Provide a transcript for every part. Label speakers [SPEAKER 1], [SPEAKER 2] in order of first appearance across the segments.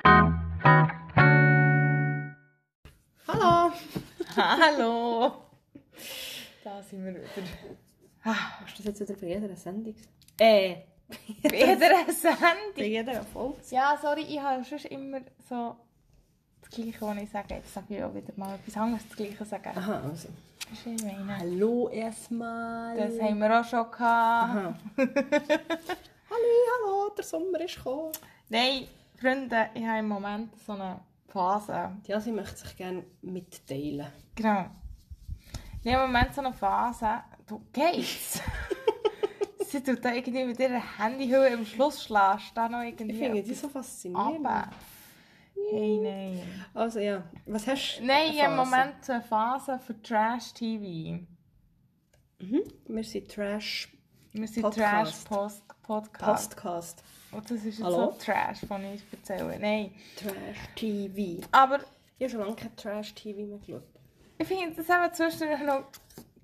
[SPEAKER 1] Hallo! Da sind wir wieder.
[SPEAKER 2] Ah, Hast du das jetzt wieder bei jeder Sendung?
[SPEAKER 1] Äh, bei jeder
[SPEAKER 2] Bei
[SPEAKER 1] Sendung.
[SPEAKER 2] jeder Folge?
[SPEAKER 1] Ja, sorry, ich habe sonst immer so das Gleiche, was ich sage. Jetzt sage ich auch wieder mal etwas anderes, das Gleiche sagen.
[SPEAKER 2] Aha, also.
[SPEAKER 1] Weisst du, was ich meine?
[SPEAKER 2] Hallo erstmal.
[SPEAKER 1] Das haben wir auch schon gehabt.
[SPEAKER 2] Aha. hallo, hallo, der Sommer ist gekommen.
[SPEAKER 1] Nein, Freunde, ich habe im Moment so eine Phase.
[SPEAKER 2] Ja, sie möchte sich gerne mitteilen.
[SPEAKER 1] Genau. Ich habe im Moment so eine Phase, du gehst. Sie tut da irgendwie mit ihrer Handyhöhe am Schluss schlägst, da noch irgendwie.
[SPEAKER 2] Ich finde die so faszinierend.
[SPEAKER 1] Aber. Hey, nein.
[SPEAKER 2] Also ja, was hast du? Also,
[SPEAKER 1] Nein, ich habe im
[SPEAKER 2] Phase?
[SPEAKER 1] Moment eh, so eine Phase für Trash-TV.
[SPEAKER 2] Wir sind Trash
[SPEAKER 1] Wir sind
[SPEAKER 2] Podcast.
[SPEAKER 1] Trash-Podcast.
[SPEAKER 2] Podcast.
[SPEAKER 1] Und das ist jetzt
[SPEAKER 2] Hallo?
[SPEAKER 1] so Trash, von ich erzähle. Nein.
[SPEAKER 2] Trash TV.
[SPEAKER 1] Aber
[SPEAKER 2] Ich habe schon lange kein Trash TV mehr geschaut.
[SPEAKER 1] ich finde das eben zwischendurch noch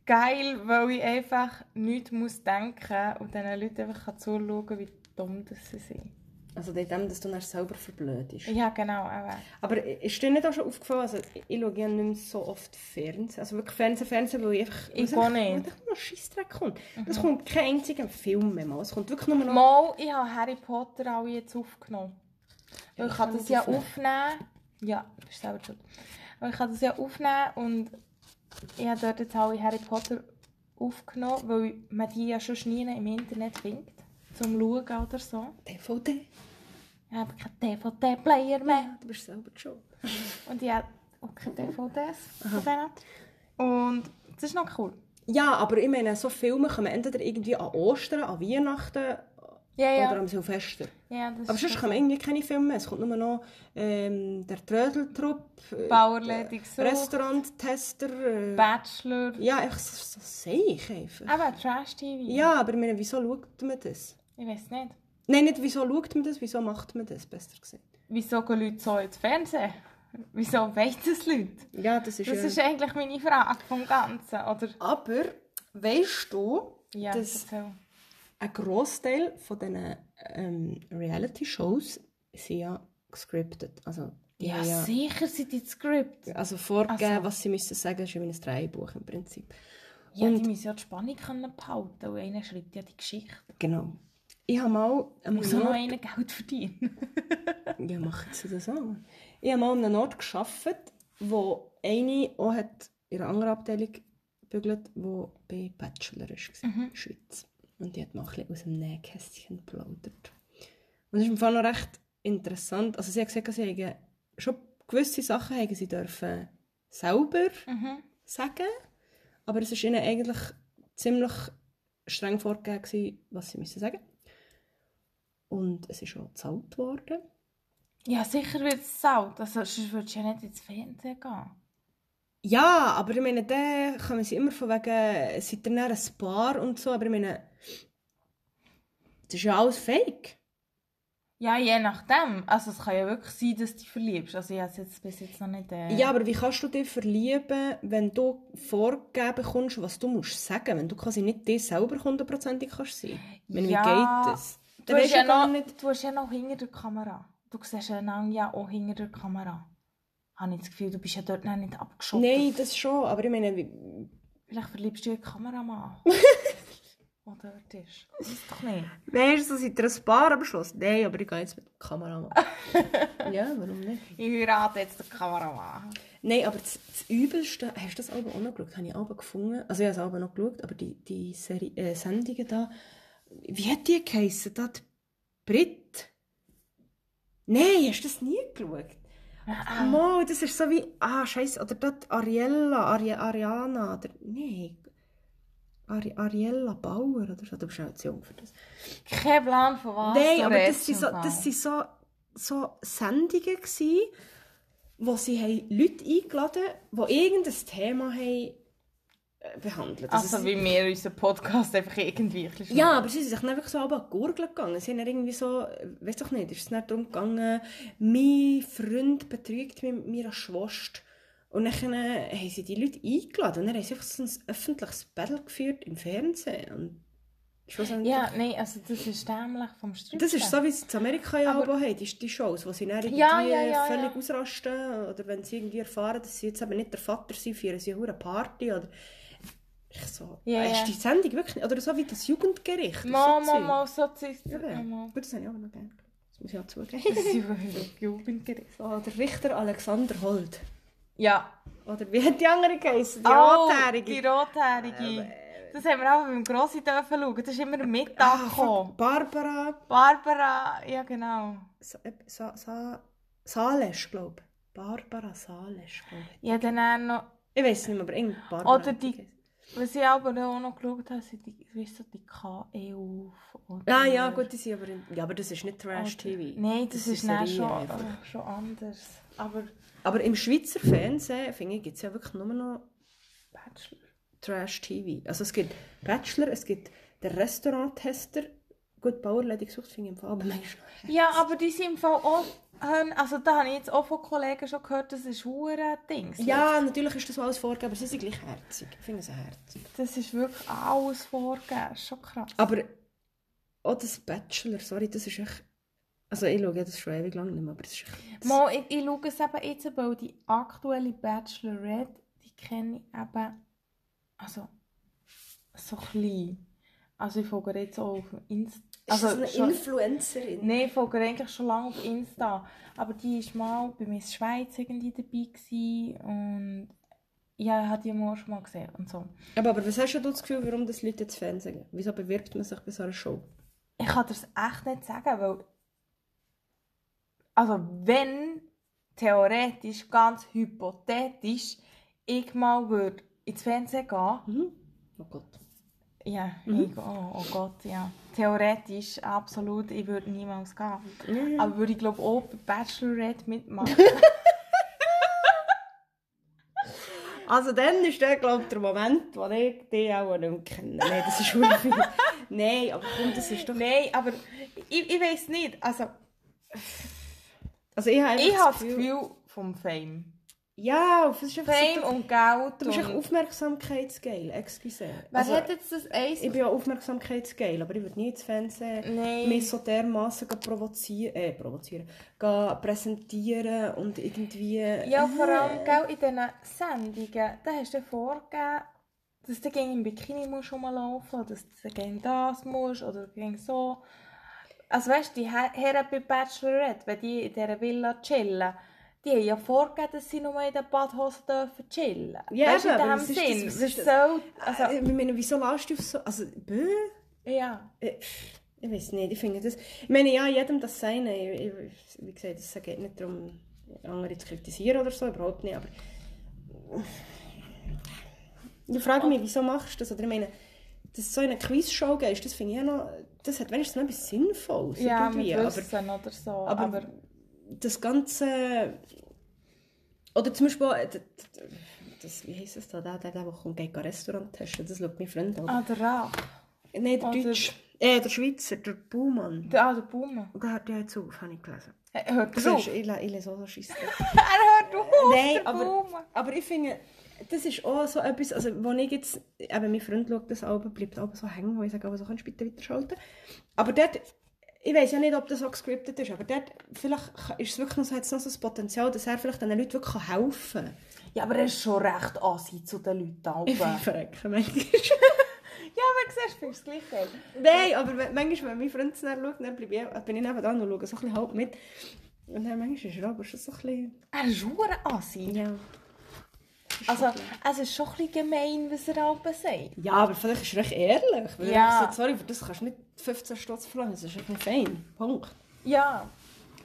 [SPEAKER 1] geil, weil ich einfach nichts muss denken und diesen Leuten einfach kann zuschauen kann, wie dumm das sie sind.
[SPEAKER 2] Also dem, dass du dann selber verblödest.
[SPEAKER 1] Ja, genau. Aber.
[SPEAKER 2] Aber ist dir nicht auch schon aufgefallen, also ich, ich schaue ja nicht mehr so oft Fernsehen. Also wirklich Fernsehen, Fernsehen, weil ich einfach...
[SPEAKER 1] Ich
[SPEAKER 2] weil
[SPEAKER 1] auch
[SPEAKER 2] einfach-
[SPEAKER 1] nicht. Mhm.
[SPEAKER 2] Weil einfach nur Scheissdreck kommt. Es kommt kein einziger Film mehr mal. Es kommt wirklich nur noch...
[SPEAKER 1] Mal, ich habe Harry Potter auch jetzt aufgenommen. Weil ich
[SPEAKER 2] ich
[SPEAKER 1] kann
[SPEAKER 2] kann
[SPEAKER 1] das
[SPEAKER 2] nicht
[SPEAKER 1] ja
[SPEAKER 2] aufnehmen.
[SPEAKER 1] aufnehmen. Ja, du bist selber schuld. Aber ich kann das ja aufnehmen und ich habe dort jetzt alle Harry Potter aufgenommen, weil man die ja schon nie im Internet findet. Zum Schauen oder so.
[SPEAKER 2] DVD.
[SPEAKER 1] Ich habe keinen DVD-Player mehr.
[SPEAKER 2] Du bist selber schon.
[SPEAKER 1] Und ich habe auch keine DVDs von denen. Und das ist noch cool.
[SPEAKER 2] Ja, aber ich meine, so Filme kommen entweder irgendwie an Ostern, an Weihnachten
[SPEAKER 1] Ja,
[SPEAKER 2] oder
[SPEAKER 1] ja.
[SPEAKER 2] am Silvester.
[SPEAKER 1] ja das
[SPEAKER 2] Aber
[SPEAKER 1] ist
[SPEAKER 2] sonst
[SPEAKER 1] cool.
[SPEAKER 2] kommen irgendwie keine Filme mehr. Es kommt nur noch ähm, der Trödeltrupp, äh,
[SPEAKER 1] Bauerledig so.
[SPEAKER 2] Restauranttester. Äh,
[SPEAKER 1] Bachelor.
[SPEAKER 2] ja, einfach so, so seich einfach.
[SPEAKER 1] Aber Trash-TV.
[SPEAKER 2] Ja, aber ich meine, wieso schaut man das?
[SPEAKER 1] Ich weiß nicht.
[SPEAKER 2] Nein, nicht wieso schaut man das, wieso macht man das, besser gesagt.
[SPEAKER 1] wieso gehen Leute so ins Fernsehen? Wieso wollen das Leute?
[SPEAKER 2] Ja, das ist
[SPEAKER 1] Das ist eigentlich meine Frage vom Ganzen, oder?
[SPEAKER 2] Aber weißt du,
[SPEAKER 1] Ja,
[SPEAKER 2] dass
[SPEAKER 1] erzähl.
[SPEAKER 2] ein Großteil von diesen ähm, Reality-Shows sind ja gescriptet. Also, die
[SPEAKER 1] ja,
[SPEAKER 2] haben ja,
[SPEAKER 1] sicher sind die Skript.
[SPEAKER 2] also vorgegeben,
[SPEAKER 1] Also.
[SPEAKER 2] was sie müssen sagen, ist wie ein Drehbuch im Prinzip.
[SPEAKER 1] Ja, die
[SPEAKER 2] Und-
[SPEAKER 1] müssen ja die Spannung können behalten und einer schreibt ja die Geschichte.
[SPEAKER 2] Genau. Ich habe mal am
[SPEAKER 1] Muss auch noch
[SPEAKER 2] Nord...
[SPEAKER 1] einer Geld verdienen.
[SPEAKER 2] Ja, machen sie das auch. Ich habe mal an einem Ort gearbeitet, wo eine auch hat in einer anderen Abteilung gebügelt, die bei Bachelor war, in der Schweiz. Und die hat mal ein bisschen aus dem Nähkästchen geplaudert. Und das ist im Fall noch recht interessant. Also sie hat gesagt, sie hätten schon gewisse Sachen hätten sie dürfen selber
[SPEAKER 1] mhm.
[SPEAKER 2] sagen, aber es war ihnen eigentlich ziemlich streng vorgegeben, gewesen, was sie müssen sagen Und es ist auch gezahlt worden.
[SPEAKER 1] Ja, sicher wird es saut. Also, sonst würdest du ja nicht ins Fernsehen gehen.
[SPEAKER 2] Ja, aber ich meine, dann kommen sie immer von wegen, seid ihr dann ein Paar und so, aber ich meine, das ist ja alles fake.
[SPEAKER 1] Ja, je nachdem. Also, es kann ja wirklich sein, dass du dich verliebst. Also, ich habe es jetzt bis jetzt noch nicht... Äh...
[SPEAKER 2] Ja, aber wie kannst du dich verlieben, wenn du vorgegeben bekommst, was du musst sagen, wenn du quasi nicht dir selber hundertprozentig kannst sein? Ich meine,
[SPEAKER 1] Ja,
[SPEAKER 2] wie geht das?
[SPEAKER 1] Du
[SPEAKER 2] Dann
[SPEAKER 1] hast,
[SPEAKER 2] weißt
[SPEAKER 1] ja
[SPEAKER 2] du gar
[SPEAKER 1] noch,
[SPEAKER 2] nicht...
[SPEAKER 1] du hast ja noch hinter der Kamera. Du siehst ja einander "Nou ja oh, auch hinter der Kamera. Habe ich das Gefühl, du bist ja dort noch nicht abgeschossen.
[SPEAKER 2] Nein, das schon, aber ich meine, wie...
[SPEAKER 1] Vielleicht verliebst du ja den Kameramann. der dort ist. Das ist doch nicht.
[SPEAKER 2] Weißt du, seid ihr ein Paar am Schluss? Nein, aber ich gehe jetzt mit dem Kameramann. ja, warum nicht?
[SPEAKER 1] Ich heirate jetzt den Kameramann.
[SPEAKER 2] Nein, aber das, das Übelste, hast du das Album auch noch geschaut? Habe ich Album gefunden? Also ich habe das Album noch geschaut, aber die, die Serie, äh, Sendungen da, wie hat die geheissen? Da die Brit? Nein, hast du das nie geschaut? Ah, Mo, das ist so wie, ah, scheiße, oder da die Ariella, Ari, Ariana, oder, nein, Ari, Ariella Bauer, oder so, du bist auch zu jung für das.
[SPEAKER 1] Kein Plan von was.
[SPEAKER 2] Nein,
[SPEAKER 1] du
[SPEAKER 2] aber das waren
[SPEAKER 1] redest
[SPEAKER 2] so,
[SPEAKER 1] im Fall.
[SPEAKER 2] das sind so, so Sendungen, gsi, wo sie haben Leute eingeladen haben, die irgendein Thema haben äh, behandelt
[SPEAKER 1] Also,
[SPEAKER 2] sie-
[SPEAKER 1] wie wir unseren Podcast einfach irgendwie ein bisschen
[SPEAKER 2] ja, aber sie sind sich dann wirklich so runter an die Gurgel gegangen. Sie sind dann irgendwie so, äh, weiß doch nicht, ist es nicht darum gegangen, mein Freund betrügt mit meiner Schwester. Und dann äh, haben sie die Leute eingeladen und dann haben sie einfach so ein öffentliches Battle geführt im Fernsehen. Und Schlussendlich.
[SPEAKER 1] Ja, nein, also das ist dämlich vom Stripsen.
[SPEAKER 2] Das ist so, wie sie in Amerika ja
[SPEAKER 1] Aber-
[SPEAKER 2] auch haben, die, die Shows, wo sie dann irgendwie
[SPEAKER 1] Ja, ja, ja,
[SPEAKER 2] völlig
[SPEAKER 1] ja.
[SPEAKER 2] ausrasten oder wenn sie irgendwie erfahren, dass sie jetzt eben nicht der Vater sind, feiern sie eine Party oder ich so.
[SPEAKER 1] Ja,
[SPEAKER 2] ist
[SPEAKER 1] ja.
[SPEAKER 2] die Sendung wirklich nicht, oder so wie das Jugendgericht.
[SPEAKER 1] Mal,
[SPEAKER 2] so
[SPEAKER 1] mal,
[SPEAKER 2] Zeug.
[SPEAKER 1] mal, so zu ist
[SPEAKER 2] Ja,
[SPEAKER 1] ja, mal.
[SPEAKER 2] Gut, das habe ich auch noch gerne. Das muss ich auch zugeben.
[SPEAKER 1] Das ist wirklich Jugendgericht.
[SPEAKER 2] so, der Richter Alexander Holt.
[SPEAKER 1] Ja.
[SPEAKER 2] Oder wie hat die andere geheißen? Die
[SPEAKER 1] Oh,
[SPEAKER 2] Rothährige. äh,
[SPEAKER 1] Die Rothährige. Das haben wir auch beim Grossi dürfen schauen. Das ist immer am Mittag
[SPEAKER 2] Ah,
[SPEAKER 1] gekommen.
[SPEAKER 2] Barbara
[SPEAKER 1] Barbara, ja genau.
[SPEAKER 2] Sa Sa Sa Sales, glaube ich. Barbara Sales, glaube ich.
[SPEAKER 1] Ja, dann auch noch...
[SPEAKER 2] Ich weiß nicht mehr, aber irgendwie Barbara.
[SPEAKER 1] Oder die- Was ich aber auch noch geschaut habe, sind die, weißt du, die E KEU. oder-
[SPEAKER 2] Ah ja, gut, die sind aber... In... Ja, aber das ist nicht
[SPEAKER 1] Oder-
[SPEAKER 2] Trash-TV.
[SPEAKER 1] Nein, das, ist dann
[SPEAKER 2] Serien
[SPEAKER 1] schon,
[SPEAKER 2] einfach.
[SPEAKER 1] ach, schon anders. Aber
[SPEAKER 2] Aber im Schweizer Fernsehen, finde ich, gibt es ja wirklich nur noch
[SPEAKER 1] Bachelor.
[SPEAKER 2] Trash-TV. Also es gibt Bachelor, es gibt den Restaurant-Tester. Gut, Bauerledig sucht, finde ich im Fall, aber manchmal...
[SPEAKER 1] Ja, aber die sind im Fall auch... haben- Also da habe ich jetzt auch von Kollegen schon gehört, das ist hure Dings.
[SPEAKER 2] Ja, natürlich ist das alles vorgegeben, aber sie sind gleich herzig. Ich finde sie herzig.
[SPEAKER 1] Das ist wirklich alles vorgegeben, schon krass.
[SPEAKER 2] Aber auch das Bachelor, sorry, das ist echt... Also ich schaue ja das schon ewig lang nicht mehr, aber das ist echt...
[SPEAKER 1] Mal, ich, ich schaue es eben jetzt, weil die aktuelle Bachelorette, die kenne ich eben, also, so klein. Also ich folge jetzt auch auf Insta.
[SPEAKER 2] Ist
[SPEAKER 1] Also,
[SPEAKER 2] das eine
[SPEAKER 1] schon,
[SPEAKER 2] Influencerin?
[SPEAKER 1] nein, ich folge eigentlich schon lange auf Insta. Aber die ist mal bei Miss Schweiz irgendwie dabei gewesen und ja, ich habe die mal schon mal gesehen und so.
[SPEAKER 2] Aber, aber was hast du das Gefühl, warum das Leute jetzt Fernsehen gehen? Wieso bewirbt man sich bei so einer Show?
[SPEAKER 1] Ich kann dir das echt nicht sagen, weil. Also, wenn theoretisch, ganz hypothetisch, ich mal würde ins Fernsehen gehen.
[SPEAKER 2] Oh Gott.
[SPEAKER 1] Ja, ich, oh, oh Gott, ja. Theoretisch, absolut, ich würde niemals gehen. Aber würde ich glaube auch bei Bachelorette mitmachen.
[SPEAKER 2] Also dann ist der, glaube ich, der Moment, wo ich dich auch nicht mehr kenne. Nein, das ist schon viel. Nein, aber komm, das ist doch...
[SPEAKER 1] Nein, aber ich, ich weiß nicht. Also,
[SPEAKER 2] Also ich habe
[SPEAKER 1] ich habe das Gefühl Also, vom Fame.
[SPEAKER 2] Ja, auf, es ist einfach
[SPEAKER 1] Fame
[SPEAKER 2] so,
[SPEAKER 1] und Geld.
[SPEAKER 2] du bist echt
[SPEAKER 1] und-
[SPEAKER 2] aufmerksamkeitsgeil, excuse.
[SPEAKER 1] Wer
[SPEAKER 2] Also,
[SPEAKER 1] hat jetzt das Eis?
[SPEAKER 2] Ich bin ja aufmerksamkeitsgeil, aber ich würde nie ins Fernsehen...
[SPEAKER 1] Nein.
[SPEAKER 2] mich so dermassen provozieren, äh, provozieren, gehen präsentieren und irgendwie... Äh,
[SPEAKER 1] Ja, vor allem gell, in diesen Sendungen, da hast du ja vorgegeben, dass du gegen im Bikini musst rumlaufen musst, dass du gegen das musst oder gegen so. Also weißt du, die Her- Herren bei Bachelorette, wenn die in dieser Villa chillen, die haben ja vorgegeben, dass sie nur in den Badhosen dürfen chillen.
[SPEAKER 2] Ja,
[SPEAKER 1] weißt du, in
[SPEAKER 2] eben,
[SPEAKER 1] diesem
[SPEAKER 2] was ist das-
[SPEAKER 1] Sinn.
[SPEAKER 2] was
[SPEAKER 1] das
[SPEAKER 2] ist das?
[SPEAKER 1] soll,
[SPEAKER 2] Also,
[SPEAKER 1] also,
[SPEAKER 2] ich meine, wieso lässt du auf so... Also, bö?
[SPEAKER 1] ja.
[SPEAKER 2] Äh, Ich weiß nicht, ich finde das... Ich meine, ja, jedem das Seine. Ich, ich, wie gesagt, es geht nicht darum, andere zu kritisieren oder so, überhaupt nicht, aber... äh, Ich frage mich, wieso machst du das? Oder ich meine, dass du so in eine Quizshow gehst, das finde ich ja noch... Das hat wenigstens noch etwas Sinnvolles
[SPEAKER 1] Ja,
[SPEAKER 2] irgendwie,
[SPEAKER 1] mit
[SPEAKER 2] aber...
[SPEAKER 1] Wissen oder so. Aber,
[SPEAKER 2] Aber, das ganze. Oder zum Beispiel. äh, d- d- Das, wie heisst es da? Der, der, der, der kommt gegen Restaurant testen. Das schaut mein Freund an.
[SPEAKER 1] ah, der Rach.
[SPEAKER 2] Nein, der
[SPEAKER 1] ah, der-
[SPEAKER 2] Deutsch. Äh, der Schweizer, der Baumann.
[SPEAKER 1] Der, ah, der Baumann.
[SPEAKER 2] Der hört ja jetzt auf, habe ich gelesen.
[SPEAKER 1] Er hört
[SPEAKER 2] Du
[SPEAKER 1] drauf.
[SPEAKER 2] siehst, ich, le- ich lese auch so Scheisse.
[SPEAKER 1] Er hört drauf,
[SPEAKER 2] Nein,
[SPEAKER 1] der
[SPEAKER 2] aber-
[SPEAKER 1] Baumann.
[SPEAKER 2] Aber ich finde, das ist auch so etwas, also wenn ich jetzt, eben mein Freund schaut das Album, bleibt aber so hängen, wo ich sage, aber so kannst du bitte weiterschalten. Aber dort, ich weiß ja nicht, ob das auch gescriptet ist, aber dort, vielleicht ka- ist es wirklich noch so, hat es noch so das Potenzial, dass er vielleicht den Leuten wirklich kann helfen kann.
[SPEAKER 1] Ja, aber er ist schon recht ansicht zu den Leuten da
[SPEAKER 2] Ich
[SPEAKER 1] oben.
[SPEAKER 2] verrecke manchmal.
[SPEAKER 1] Ja, aber du siehst, findest du es gleich geil.
[SPEAKER 2] Nein, aber wenn- manchmal, wenn mein Freund es dann schaut, dann bleib ich, bin ich nebenan und schaue so ein bisschen halb mit. Und dann manchmal ist er aber schon so ein bisschen,
[SPEAKER 1] Er ist hure assi.
[SPEAKER 2] ja.
[SPEAKER 1] Also, es ist schon ein bisschen gemein, was er aber sagt.
[SPEAKER 2] Ja, aber vielleicht ist er echt ehrlich. Weil
[SPEAKER 1] Ja.
[SPEAKER 2] ja. Sagt, sorry, für das kannst du nicht 15 Stutz verlangen. Das ist echt nicht fein. Punkt.
[SPEAKER 1] Ja.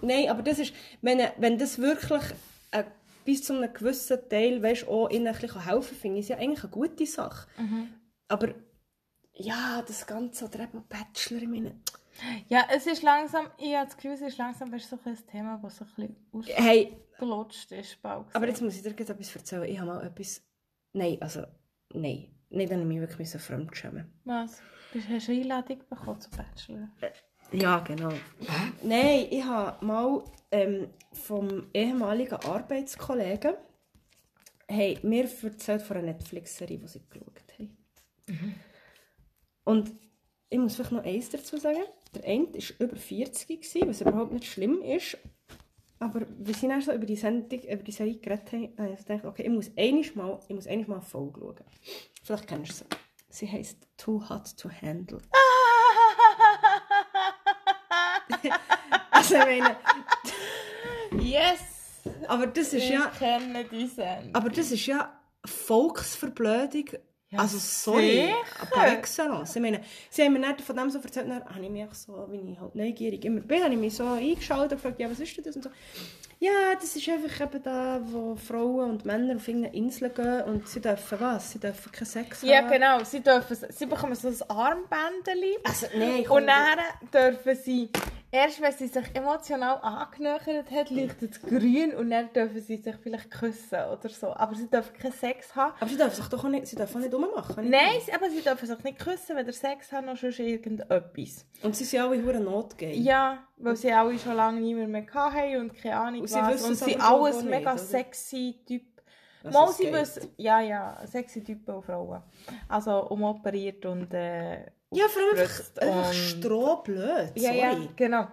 [SPEAKER 2] Nein, aber das ist, wenn, wenn das wirklich äh, bis zu einem gewissen Teil weißt, auch ihnen ein bisschen helfen kann, finde ich es ja eigentlich eine gute Sache.
[SPEAKER 1] Mhm.
[SPEAKER 2] Aber ja, das Ganze oder eben Bachelor, ich meine...
[SPEAKER 1] Ja, es ist langsam, ich habe das Gefühl, es ist langsam weißt, du, so ein bisschen ein Thema, das so ein bisschen
[SPEAKER 2] Hey,
[SPEAKER 1] ausgelutscht ist. Bald
[SPEAKER 2] aber jetzt muss ich dir gleich etwas erzählen. Ich habe mal etwas... Nein, also, nein. Nein, dann habe ich mich wirklich müssen fremdschämen.
[SPEAKER 1] Was? Bist- Hast du eine Einladung bekommen zum Bachelor?
[SPEAKER 2] Ja, genau. Nein, ich habe mal ähm, vom ehemaligen Arbeitskollegen hey, mir erzählt von einer Netflix-Serie, die sie geschaut haben. Und ich muss vielleicht noch eins dazu sagen. Der eine war über 40, gewesen, was überhaupt nicht schlimm ist. Aber wir sind dann so über die Sendung, über die Serie geredet haben, habe ich gedacht, okay, ich muss einiges mal, ich muss einiges mal voll schauen. Vielleicht kennst du sie. Sie heisst Too Hot to Handle. also ich meine,
[SPEAKER 1] Yes!
[SPEAKER 2] aber das ist
[SPEAKER 1] Ich
[SPEAKER 2] ja,
[SPEAKER 1] kenne die Sendung.
[SPEAKER 2] aber das ist ja Volksverblödung.
[SPEAKER 1] Ja,
[SPEAKER 2] also sorry,
[SPEAKER 1] sicher.
[SPEAKER 2] par excellence. Ich meine, sie haben mir nicht von dem so erzählt, dann habe ich mich auch so, wie ich halt neugierig immer bin, habe ich mich so eingeschaltet und gefragt, ja, was ist denn das und so. Ja, das ist einfach eben da, wo Frauen und Männer auf irgendeine Insel gehen und sie dürfen was? Sie dürfen keinen Sex
[SPEAKER 1] ja,
[SPEAKER 2] haben.
[SPEAKER 1] genau. Sie, dürfen, sie bekommen so ein Armbändchen.
[SPEAKER 2] Also, nein, komm,
[SPEAKER 1] Und dann dürfen sie, erst wenn sie sich emotional angenähert hat, leuchtet es grün und dann dürfen sie sich vielleicht küssen oder so. Aber sie dürfen keinen Sex haben.
[SPEAKER 2] Aber sie dürfen sich doch auch nicht, sie dürfen auch nicht rummachen. nicht?
[SPEAKER 1] Nein, aber sie dürfen sich nicht küssen, weder Sex haben noch sonst irgendetwas.
[SPEAKER 2] Und sie sind alle hure notgeil.
[SPEAKER 1] Ja, weil sie alle schon lange niemand mehr hatten und keine Ahnung
[SPEAKER 2] Und sie
[SPEAKER 1] was.
[SPEAKER 2] wissen
[SPEAKER 1] Und
[SPEAKER 2] es aber,
[SPEAKER 1] sie
[SPEAKER 2] glaub ich,
[SPEAKER 1] alles
[SPEAKER 2] auch
[SPEAKER 1] mega
[SPEAKER 2] nicht, oder?
[SPEAKER 1] sexy Typen.
[SPEAKER 2] Was
[SPEAKER 1] Mal,
[SPEAKER 2] es
[SPEAKER 1] sie
[SPEAKER 2] geht.
[SPEAKER 1] wissen, ja, ja, sexy Typen und Frauen. Also umoperiert und äh,
[SPEAKER 2] Ja, vor allem einfach,
[SPEAKER 1] aufgebrüst
[SPEAKER 2] einfach
[SPEAKER 1] und-
[SPEAKER 2] strohblöd, sorry.
[SPEAKER 1] Ja, ja, genau.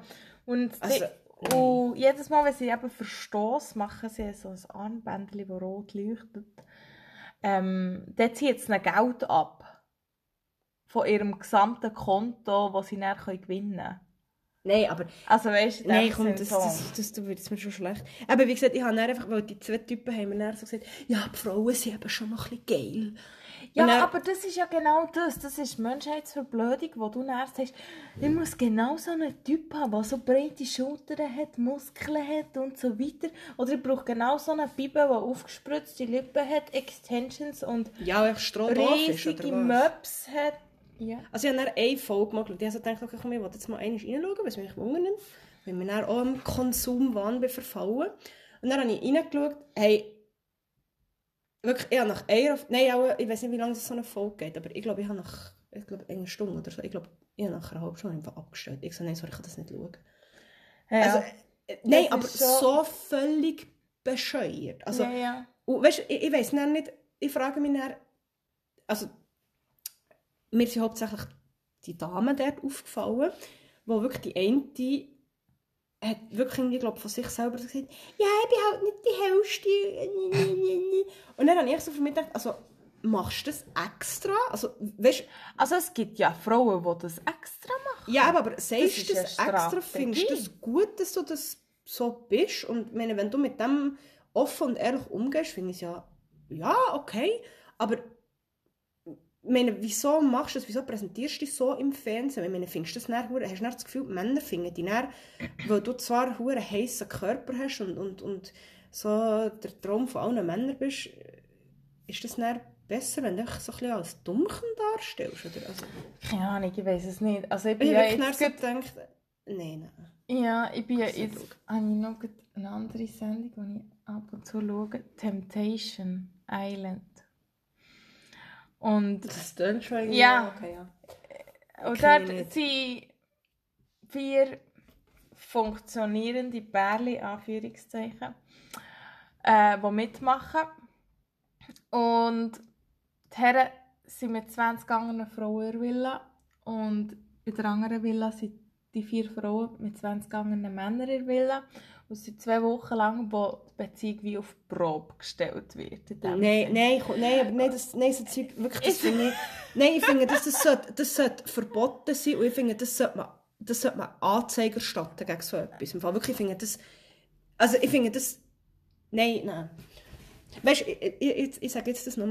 [SPEAKER 1] Und,
[SPEAKER 2] Also,
[SPEAKER 1] die, und jedes Mal, wenn sie eben Verstoß machen, sie so ein Armbändchen, das rot leuchtet, ähm, dort zieht sie ihnen Geld ab. Von ihrem gesamten Konto, das sie dann können gewinnen können.
[SPEAKER 2] Nein, aber
[SPEAKER 1] Also weißt du, in
[SPEAKER 2] Nein,
[SPEAKER 1] dem
[SPEAKER 2] komm,
[SPEAKER 1] Sinn
[SPEAKER 2] das,
[SPEAKER 1] so.
[SPEAKER 2] das, das, das wird mir schon schlecht. Aber wie gesagt, ich habe dann einfach, weil die zwei Typen haben mir dann so gesagt, ja, die Frauen sind eben schon noch ein bisschen geil.
[SPEAKER 1] Ja,
[SPEAKER 2] Und dann-
[SPEAKER 1] aber das ist ja genau das. Das ist die Menschheitsverblödung, wo du erst hast. Ich muss genau so einen Typ haben, der so breite Schultern hat, Muskeln hat und so weiter. Oder ich brauche genau so einen Biber, der aufgespritzte Lippen hat, Extensions und
[SPEAKER 2] Ja, weil ich strohdorf ist,
[SPEAKER 1] riesige
[SPEAKER 2] oder was?
[SPEAKER 1] Möps hat. Ja.
[SPEAKER 2] Also ich habe dann eine Folge gemacht und ich habe so gedacht, okay, komm, ich will jetzt mal einmal reinschauen, weil es mich wundernimmt. Weil wir dann auch im Konsumwahn bin verfallen. Und dann habe ich reingeschaut, hey, wirklich, ich habe nach einer, nein, auch, ich weiß nicht, wie lange so eine Folge geht, aber ich glaube, ich habe nach, ich glaube, einer Stunde oder so, ich glaube, ich habe nach einer halben Stunde einfach abgestellt. Ich so, nein, sorry, ich kann das nicht schauen.
[SPEAKER 1] Ja.
[SPEAKER 2] Also, äh, nein,
[SPEAKER 1] Das
[SPEAKER 2] aber
[SPEAKER 1] ist schon-
[SPEAKER 2] so völlig bescheuert. Also,
[SPEAKER 1] ja, ja.
[SPEAKER 2] und weißt, ich, ich weiß nicht, ich frage mich dann, also, mir sind hauptsächlich die Damen dort aufgefallen, wo wirklich die eine die hat wirklich irgendwie, glaub, von sich selber so gesagt, ja, ich bin halt nicht die Hellste. Ni, ni, ni, ni. Und dann habe ich so für mich gedacht, also, machst du das extra? Also, weißt,
[SPEAKER 1] also es gibt ja Frauen, die das extra machen.
[SPEAKER 2] Ja, eben, aber sagst
[SPEAKER 1] ist
[SPEAKER 2] du
[SPEAKER 1] eine
[SPEAKER 2] das extra?
[SPEAKER 1] Strategie.
[SPEAKER 2] Findest du das gut, dass du das so bist? Und ich meine, wenn du mit dem offen und ehrlich umgehst, finde ich es ja, ja, okay. Aber ich meine, wieso machst du das? Wieso präsentierst du dich so im Fernsehen? Ich meine, findest du das dann, hure- hast du dann das Gefühl, die Männer finden dich dann, weil du zwar einen heißen Körper hast und, und, und so der Traum von allen Männern bist, ist das dann besser, wenn du dich so ein bisschen als Dummchen darstellst? Oder? Also,
[SPEAKER 1] Keine Ahnung, ich weiß es nicht. Also ich bin
[SPEAKER 2] ich
[SPEAKER 1] ja
[SPEAKER 2] habe
[SPEAKER 1] jetzt
[SPEAKER 2] ja,
[SPEAKER 1] gerade-
[SPEAKER 2] so gedacht, nein, nein.
[SPEAKER 1] Ja, ich bin ja
[SPEAKER 2] Also,
[SPEAKER 1] jetzt, habe ich noch gerade eine andere Sendung, die ich ab und zu schaue, Temptation Island. Und,
[SPEAKER 2] Das klingt schon irgendwie-
[SPEAKER 1] Ja.
[SPEAKER 2] Okay, ja.
[SPEAKER 1] und
[SPEAKER 2] kenn ich
[SPEAKER 1] dort
[SPEAKER 2] nicht.
[SPEAKER 1] sind vier funktionierende Pärchen, Anführungszeichen, äh, die mitmachen. Und die Herren sind mit 20 anderen Frauen in der Villa und in der anderen Villa sind die vier Frauen mit 20 anderen Männern in der Villa. Und es sind zwei Wochen lang, wo die Beziehung wie auf Probe gestellt wird. in dem
[SPEAKER 2] Nein,
[SPEAKER 1] Sinn.
[SPEAKER 2] nein, komm, nein, aber nein, das, nein, so Zeug, wirklich, das finde ich, nein, ich finde, das, das, sollte, das sollte verboten sein und ich finde, das sollte man, das sollte man Anzeiger statten gegen so etwas. Im Fall wirklich, ich finde das, also ich finde das, nein, nein. Weißt du, ich, ich, ich, ich sage jetzt das nur,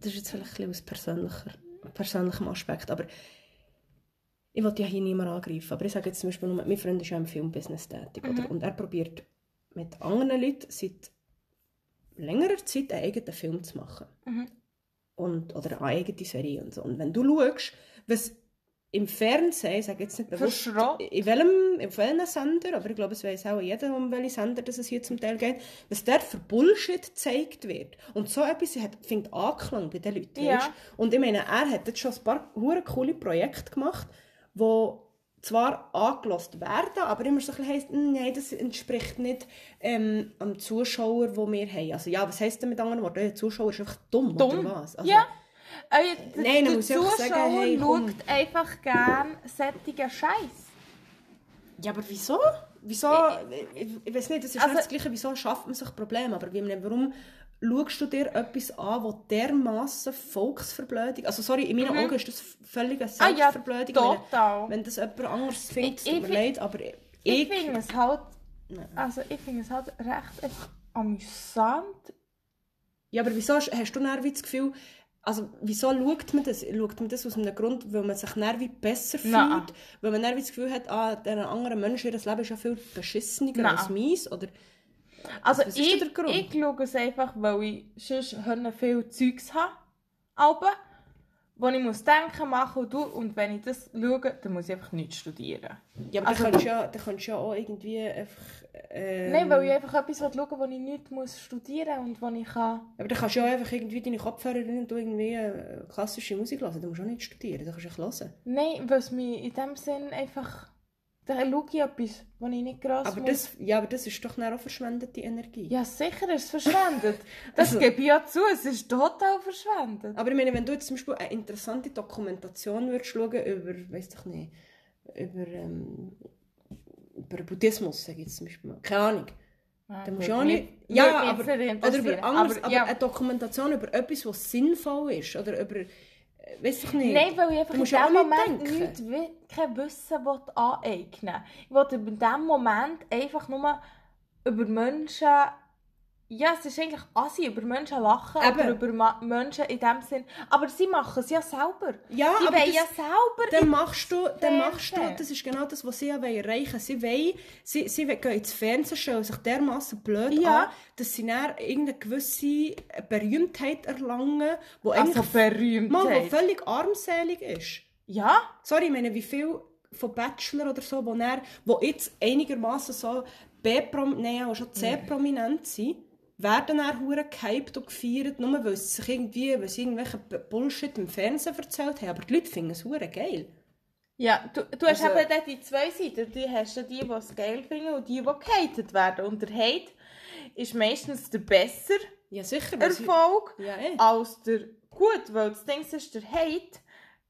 [SPEAKER 2] das ist jetzt vielleicht ein bisschen aus persönlicher, persönlichem Aspekt, aber ich wollte ja hier niemanden angreifen, aber ich sage jetzt zum Beispiel nur, mein Freund ist ja im Filmbusiness tätig,
[SPEAKER 1] Mhm.
[SPEAKER 2] oder? Und er probiert mit anderen Leuten seit längerer Zeit einen eigenen Film zu machen.
[SPEAKER 1] Mhm.
[SPEAKER 2] Und, oder eine eigene Serie und so. Und wenn du schaust, was im Fernsehen, ich sage jetzt nicht bewusst,
[SPEAKER 1] Verschrott.
[SPEAKER 2] in welchem, auf welchen Sender, aber ich glaube, es weiß auch jeder, um welchen Sender dass es hier zum Teil geht, was der für Bullshit gezeigt wird. Und so etwas hat, findet Anklang bei den Leuten.
[SPEAKER 1] Ja.
[SPEAKER 2] weisst? Und ich meine, er hat jetzt schon ein paar hure coole Projekte gemacht, wo zwar angelost werden, aber immer so ein bisschen heisst, «Mm, nein, das entspricht nicht ähm, am Zuschauer, wo wir haben. Also ja, was heisst denn mit anderen Worten? Der Zuschauer ist einfach dumm,
[SPEAKER 1] Dumm.
[SPEAKER 2] oder was? Also,
[SPEAKER 1] Ja, Oh, Euer, der-
[SPEAKER 2] Nein,
[SPEAKER 1] der
[SPEAKER 2] man muss einfach sagen,
[SPEAKER 1] Zuschauer
[SPEAKER 2] hey, komm.
[SPEAKER 1] schaut einfach gerne sättigen Scheiß.
[SPEAKER 2] Ja, aber wieso? Wieso? Ich, ich weiß nicht, das ist
[SPEAKER 1] Also-
[SPEAKER 2] nicht das Gleiche, wieso schafft man sich Probleme, aber wie, warum schaust du dir etwas an, wo dermassen Volksverblödung, also sorry, in meinen Augen ist das völlige
[SPEAKER 1] Mhm. Ah ja,
[SPEAKER 2] Selbstverblödung, wenn-
[SPEAKER 1] total.
[SPEAKER 2] wenn das jemand anderes findet,
[SPEAKER 1] Ich-
[SPEAKER 2] tut mir
[SPEAKER 1] ich-
[SPEAKER 2] leid, aber ich,
[SPEAKER 1] Ich, finde es halt,
[SPEAKER 2] Nein.
[SPEAKER 1] also ich finde es halt recht einfach amüsant.
[SPEAKER 2] Ja, aber wieso hast hast du dann wie das Gefühl, also wieso schaut man das? Schaut man das aus einem Grund, weil man sich dann wie besser fühlt?
[SPEAKER 1] Nein.
[SPEAKER 2] Weil man dann wie das Gefühl hat, ah, der andere Mensch, ihr Leben ist ja viel beschissener
[SPEAKER 1] Nein.
[SPEAKER 2] als meins? Oder
[SPEAKER 1] Also
[SPEAKER 2] Was ist
[SPEAKER 1] ich,
[SPEAKER 2] denn der Grund?
[SPEAKER 1] ich schaue es einfach, weil ich sonst hören viel Zeugs habe, aber wo ich muss denken, machen und tun. Und wenn ich das schaue, dann muss ich einfach nichts studieren.
[SPEAKER 2] Ja, aber
[SPEAKER 1] Also-
[SPEAKER 2] dann kannst du ja, dann kannst du ja auch irgendwie einfach... Ähm,
[SPEAKER 1] Nein, weil ich einfach etwas schauen will, wo ich nichts muss studieren muss und wo ich kann...
[SPEAKER 2] Aber dann kannst du ja auch einfach irgendwie deine Kopfhörer rein und du irgendwie äh, klassische Musik hören. Du musst auch nicht studieren, du kannst einfach hören.
[SPEAKER 1] Nein, weil es mich in dem Sinn einfach... Dann schaue ich etwas, wo ich nicht gross
[SPEAKER 2] Aber
[SPEAKER 1] muss.
[SPEAKER 2] das, ja, aber das ist doch dann auch verschwendete Energie.
[SPEAKER 1] Ja, sicher ist es verschwendet. Das
[SPEAKER 2] Also-
[SPEAKER 1] gebe ich ja zu, es ist total verschwendet.
[SPEAKER 2] Aber ich meine, wenn du jetzt zum Beispiel eine interessante Dokumentation würdest schauen über, weiß doch nicht, über, ähm, über Buddhismus, sage ich jetzt zum Beispiel mal. Keine Ahnung. Dann musst du auch nicht... Ja, aber, oder über anderes, aber,
[SPEAKER 1] ja.
[SPEAKER 2] eine Dokumentation über etwas, was sinnvoll ist. Oder über... äh, Weiß doch nicht.
[SPEAKER 1] Nein, weil ich einfach
[SPEAKER 2] Du
[SPEAKER 1] in
[SPEAKER 2] musst ja
[SPEAKER 1] dem
[SPEAKER 2] auch nicht
[SPEAKER 1] Moment
[SPEAKER 2] denken.
[SPEAKER 1] nichts, wi- kein Wissen will aneignen will. Ich will in dem Moment einfach nur über Menschen... Ja, es ist eigentlich assi, über Menschen lachen oder
[SPEAKER 2] Eben.
[SPEAKER 1] über Ma Menschen in dem Sinn. Aber sie machen es ja selber.
[SPEAKER 2] Ja,
[SPEAKER 1] die
[SPEAKER 2] aber dus- das-
[SPEAKER 1] wollen ja selber...
[SPEAKER 2] Dann machst du, dann machst du,
[SPEAKER 1] Fernsehen.
[SPEAKER 2] das ist genau das, was sie ja wollen erreichen wollen. Sie wollen, sie, sie wollen gehen ins Fernsehen, stellen sich dermassen blöd
[SPEAKER 1] Ja.
[SPEAKER 2] an, dass sie dann irgendeine gewisse Berühmtheit erlangen, die
[SPEAKER 1] also
[SPEAKER 2] eigentlich mal, die
[SPEAKER 1] berühmt.
[SPEAKER 2] völlig armselig ist.
[SPEAKER 1] Ja,
[SPEAKER 2] Sorry, ich meine, wie viel von Bachelor oder so, wo, dann, wo jetzt einigermaßen so B-Prom, nein, auch schon C-Prominent sind, werden dann hure gehypt und gefeiert, nur weil sie sich irgendwie, weil sie irgendwelche B- Bullshit im Fernsehen erzählt haben. Aber die Leute finden es hure geil.
[SPEAKER 1] Ja, du, du hast
[SPEAKER 2] Also-
[SPEAKER 1] eben dort die zwei Seiten. Du hast ja die, die es geil finden und die, die gehatet werden. Und der Hate ist meistens der bessere
[SPEAKER 2] Ja, sicher. weil sie-
[SPEAKER 1] Erfolg
[SPEAKER 2] Ja, eh.
[SPEAKER 1] als der gut, weil das Ding ist, der Hate,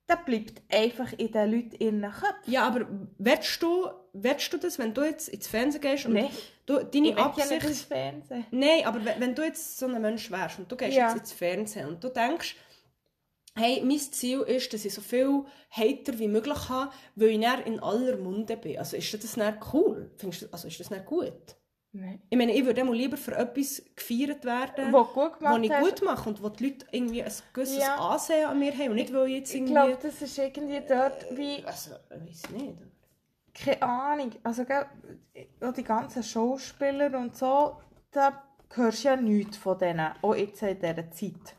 [SPEAKER 1] der bleibt einfach in den Leuten in den Köpfen.
[SPEAKER 2] Ja, aber willst du, willst du das, wenn du jetzt ins Fernsehen gehst und
[SPEAKER 1] Nein.
[SPEAKER 2] du, deine
[SPEAKER 1] Ich will ja
[SPEAKER 2] Absicht...
[SPEAKER 1] nicht ins Fernsehen.
[SPEAKER 2] Nein, aber wenn, wenn du jetzt so ein Mensch wärst und du gehst
[SPEAKER 1] Ja.
[SPEAKER 2] jetzt ins Fernsehen und du denkst, hey, mein Ziel ist, dass ich so viel Hater wie möglich habe, weil ich dann in aller Munde bin. Also ist das dann cool? Findest du, also ist das dann gut?
[SPEAKER 1] Nein.
[SPEAKER 2] Ich meine, ich würde dann mal lieber für etwas gefeiert werden,
[SPEAKER 1] Was du gut
[SPEAKER 2] was
[SPEAKER 1] gemacht
[SPEAKER 2] ich
[SPEAKER 1] hast.
[SPEAKER 2] gut mache und wo die Leute irgendwie ein gewisses
[SPEAKER 1] Ja.
[SPEAKER 2] Ansehen an mir haben und nicht, weil ich jetzt
[SPEAKER 1] ich
[SPEAKER 2] irgendwie...
[SPEAKER 1] glaube, das ist irgendwie dort wie...
[SPEAKER 2] also, ich weiß nicht.
[SPEAKER 1] keine Ahnung, also gell, auch die ganzen Schauspieler und so, da hörst du ja nichts von denen, auch jetzt in dieser Zeit.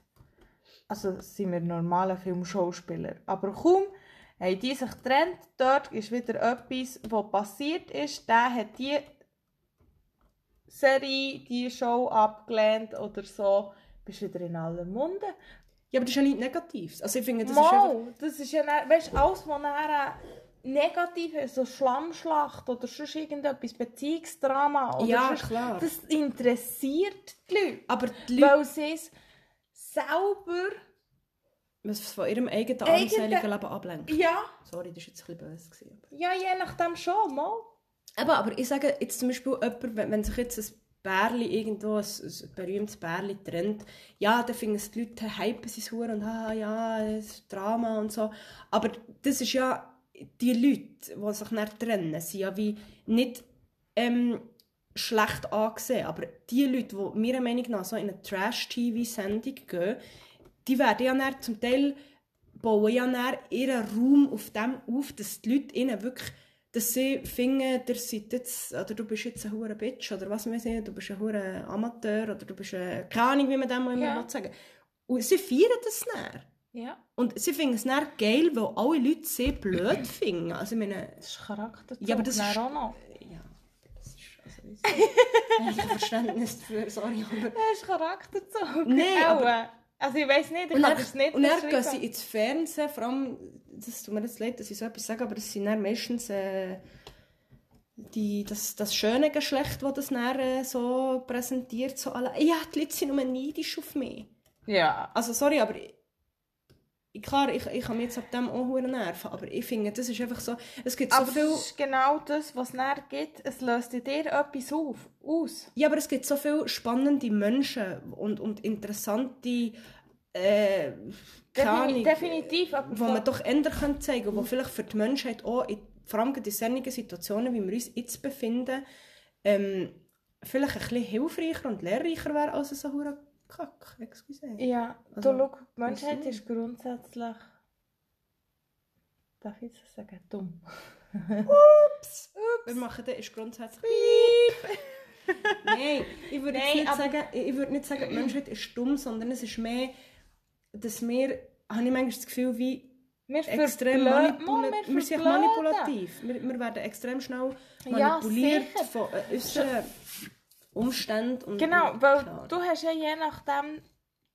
[SPEAKER 1] Also sind wir normale Filmschauspieler. Aber kaum haben die sich getrennt, dort ist wieder etwas, was passiert ist, der hat die Serie, die Show abgelehnt oder so, bist wieder in aller Munde.
[SPEAKER 2] Ja, aber das ist ja nichts Negatives. Also ich finde, das ist einfach...
[SPEAKER 1] Mal, das ist ja dann, weißt, alles, was nachher negativ ist, so Schlammschlacht oder sonst irgendetwas, Beziehungsdrama oder
[SPEAKER 2] Ja,
[SPEAKER 1] sonst,
[SPEAKER 2] klar.
[SPEAKER 1] das interessiert die Leute,
[SPEAKER 2] Aber die Leute,
[SPEAKER 1] weil sie es selber,
[SPEAKER 2] was von ihrem eigenen
[SPEAKER 1] Eigene-
[SPEAKER 2] armseligen Leben ablenken.
[SPEAKER 1] ja,
[SPEAKER 2] Sorry, das war jetzt ein bisschen böse. Gewesen.
[SPEAKER 1] ja, je nachdem schon, mal.
[SPEAKER 2] Eben, aber ich sage jetzt zum Beispiel jemand, wenn, wenn sich jetzt ein Bärli irgendwo, ein, ein berühmtes Bärli trennt, ja, dann finden es die Leute, hypen sie es hure und ah, ja, es ist Drama und so. Aber das ist ja, die Leute, die sich dann trennen, sind ja wie nicht ähm, schlecht angesehen. Aber die Leute, die meiner Meinung nach so in eine Trash-TV-Sendung gehen, die werden ja dann zum Teil bauen ja dann ihren Raum auf dem auf, dass die Leute ihnen wirklich dass sie finden, ihr seid jetzt, oder du bist jetzt ein hure Bitch, oder was weiß ich, du bist ein hure Amateur, oder du bist ein, keine Ahnung, wie man dem mal immer
[SPEAKER 1] Ja.
[SPEAKER 2] will sagen Und sie feiern das dann.
[SPEAKER 1] Ja,
[SPEAKER 2] Und sie finden es dann geil, weil alle Leute sie blöd finden. Also ich meine,
[SPEAKER 1] das ist Charakter.
[SPEAKER 2] Ja, aber das
[SPEAKER 1] dann
[SPEAKER 2] ist-
[SPEAKER 1] auch noch.
[SPEAKER 2] ja, das ist, also ich habe kein Verständnis dafür, sorry, aber...
[SPEAKER 1] Das ist Charakterzug.
[SPEAKER 2] Nein,
[SPEAKER 1] auch.
[SPEAKER 2] aber-
[SPEAKER 1] Also ich weiß nicht, ich
[SPEAKER 2] Und
[SPEAKER 1] kann
[SPEAKER 2] dann,
[SPEAKER 1] das nicht
[SPEAKER 2] und dann gehen
[SPEAKER 1] beschreiben.
[SPEAKER 2] sie ins Fernsehen, vor allem, das tut mir jetzt leid, dass ich so etwas sage, aber das sind dann meistens äh, die, das, das schöne Geschlecht, das das dann äh, so präsentiert, so alle, ja, die Leute sind nur neidisch auf mich.
[SPEAKER 1] Ja,
[SPEAKER 2] Also sorry, aber Klar, ich, ich kann mich jetzt ab dem auch verdammt nerven, aber ich finde, das ist einfach so, es gibt Also so
[SPEAKER 1] aber
[SPEAKER 2] viel...
[SPEAKER 1] das ist genau das, was es näher gibt. Es löst in dir etwas auf, aus.
[SPEAKER 2] Ja, aber es gibt so viele spannende Menschen und, und interessante äh, keine
[SPEAKER 1] Defini
[SPEAKER 2] Ahnung,
[SPEAKER 1] definitiv.
[SPEAKER 2] wo man doch ändern kann zeigen, wo vielleicht für die Menschheit auch, in, vor allem in solchen Situationen, wie wir uns jetzt befinden, ähm, vielleicht ein bisschen hilfreicher und lehrreicher wäre als so hure Kack, excuse.
[SPEAKER 1] Ja,
[SPEAKER 2] Also,
[SPEAKER 1] du, schau, die Menschheit
[SPEAKER 2] weißt du?
[SPEAKER 1] ist grundsätzlich. Darf ich das sagen? Dumm.
[SPEAKER 2] Ups, Wir machen das ist grundsätzlich. Nein, ich würde jetzt
[SPEAKER 1] Nein,
[SPEAKER 2] nicht
[SPEAKER 1] aber-
[SPEAKER 2] sagen, ich würde nicht sagen, die Menschheit ist dumm, sondern es ist mehr, dass wir, habe ich manchmal das Gefühl, wie
[SPEAKER 1] Wir
[SPEAKER 2] extrem
[SPEAKER 1] verblöden-
[SPEAKER 2] manipula
[SPEAKER 1] Mann,
[SPEAKER 2] wir sind
[SPEAKER 1] verblöden.
[SPEAKER 2] manipulativ. Wir, wir werden extrem schnell
[SPEAKER 1] Ja,
[SPEAKER 2] manipuliert
[SPEAKER 1] sicher.
[SPEAKER 2] von äh, unseren Umständen. Und
[SPEAKER 1] Genau,
[SPEAKER 2] und-
[SPEAKER 1] weil
[SPEAKER 2] klar.
[SPEAKER 1] du hast ja je nachdem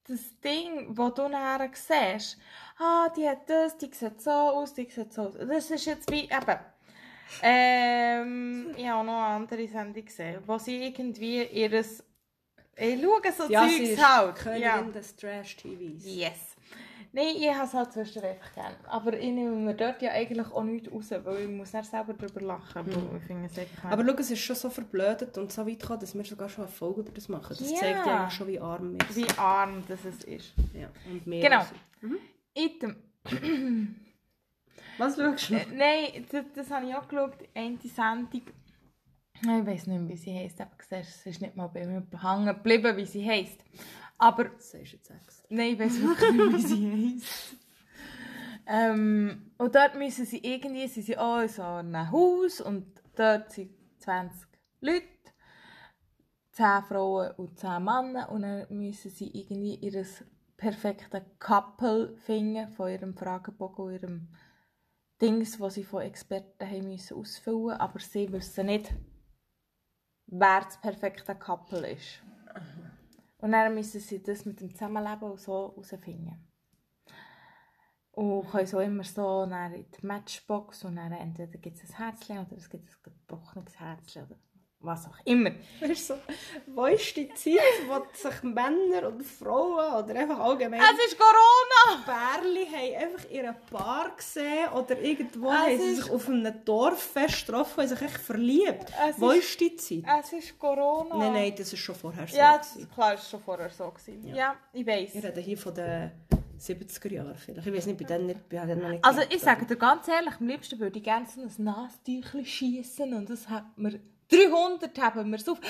[SPEAKER 1] das Ding, das du nachher siehst. Ah, die hat das, die sieht so aus, die sieht so aus. Das ist jetzt wie eben. Ähm, ich habe auch noch eine andere Sendung gesehen, wo sie irgendwie ihres. Ich schaue so
[SPEAKER 2] ja, sie
[SPEAKER 1] Zeugs
[SPEAKER 2] ist
[SPEAKER 1] halt.
[SPEAKER 2] Königin
[SPEAKER 1] Ja.
[SPEAKER 2] des Trash-TVs.
[SPEAKER 1] Yes. Nein, ich habe es halt zwischendurch einfach gerne. Aber ich nehme mir dort ja eigentlich auch nichts raus, weil ich muss nicht selber darüber lachen, weil ich finde es echt
[SPEAKER 2] Aber schau, es ist schon so verblödet und so weit gekommen, dass wir sogar schon eine Folge über das machen. Das
[SPEAKER 1] Ja.
[SPEAKER 2] zeigt ja eigentlich schon, wie arm wir sind.
[SPEAKER 1] wie arm das es ist.
[SPEAKER 2] Ja, und mehr
[SPEAKER 1] Genau.
[SPEAKER 2] als-
[SPEAKER 1] Item.
[SPEAKER 2] Was schaust du?
[SPEAKER 1] Äh, Nein, das, das habe ich auch geschaut. Eine Sendung. Ah, Ich weiß nicht mehr, wie sie heisst. Aber du siehst, es ist nicht mal bei mir hängen geblieben, wie sie heisst. Aber
[SPEAKER 2] Das sagst du jetzt extra.
[SPEAKER 1] nein, ich weiß wirklich nicht, wie sie heisst. Ähm, und dort müssen sie irgendwie, sie sind auch in so einem Haus und dort sind 20 Leute. 10 Frauen und 10 Männer und dann müssen sie irgendwie ihr perfektes Couple finden von ihrem Fragebogen und ihrem Dings, was sie von Experten haben müssen ausfüllen, aber sie wissen nicht, wer das perfekte Couple ist. Und dann müssen sie das mit dem Zusammenleben und so herausfinden. Und können so immer so dann in die Matchbox und dann entweder gibt es ein Herzchen oder es gibt ein gebrochenes Herzchen oder was auch immer.
[SPEAKER 2] Weißt du, so, wo ist die Zeit, wo sich Männer und Frauen oder einfach allgemein
[SPEAKER 1] Es ist Corona!
[SPEAKER 2] Bärli haben einfach in einem Bar gesehen oder irgendwo
[SPEAKER 1] Es
[SPEAKER 2] haben sie
[SPEAKER 1] ist-
[SPEAKER 2] sich auf einem Dorffest getroffen und haben sich echt verliebt.
[SPEAKER 1] Es
[SPEAKER 2] Wo
[SPEAKER 1] ist-
[SPEAKER 2] ist die Zeit?
[SPEAKER 1] Es ist Corona!
[SPEAKER 2] Also Nein, nein, das war schon vorher so.
[SPEAKER 1] Ja, das,
[SPEAKER 2] gewesen.
[SPEAKER 1] klar, das war schon vorher so. Gewesen. Ja. ich
[SPEAKER 2] Wir
[SPEAKER 1] weiß.
[SPEAKER 2] reden hier von den 70er Jahren vielleicht. Ich weiß nicht, bei denen nicht, bei denen noch nicht.
[SPEAKER 1] Also
[SPEAKER 2] gelebt,
[SPEAKER 1] ich sage dir ganz ehrlich, am liebsten würde ich gerne so ein Nastüchchen schiessen und das hat mir 300 haben wir so auf.